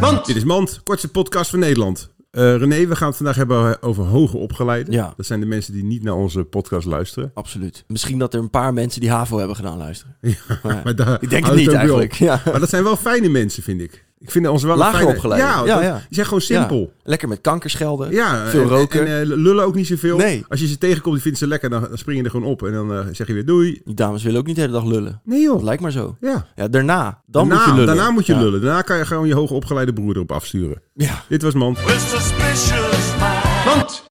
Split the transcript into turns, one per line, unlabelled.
Mand.
Dit is Mand, kortste podcast van Nederland. Eh, René, we gaan het vandaag hebben over hoger opgeleiden.
Ja.
Dat zijn de mensen die niet naar onze podcast luisteren.
Absoluut. Misschien dat er een paar mensen die HAVO hebben gedaan luisteren. Maar
Maar daar
ik denk het
houdt
niet
ook weer op.
eigenlijk. Ja.
Maar dat zijn wel fijne mensen, vind ik. Ik vind ons wel
Lager
een fijne...
opgeleide.
Ja,
Ja,
dat-
ja.
die zijn gewoon simpel.
Ja. Lekker met kanker schelden.
Ja,
Veel
en-
roken.
En, eh, lullen ook niet zoveel.
Nee.
Als je ze tegenkomt, die vinden ze lekker, dan, dan spring je er gewoon op. En dan eh, zeg je weer doei.
Die dames willen ook niet de hele dag lullen.
Nee
Dat
joh.
lijkt maar zo.
Ja.
Ja, daarna. Dan
daarna,
moet je lullen.
daarna moet je
Ja.
lullen. Daarna kan je gewoon je hoogopgeleide broer erop afsturen.
Ja.
Dit was Mand.
With suspicious mind.
Mand.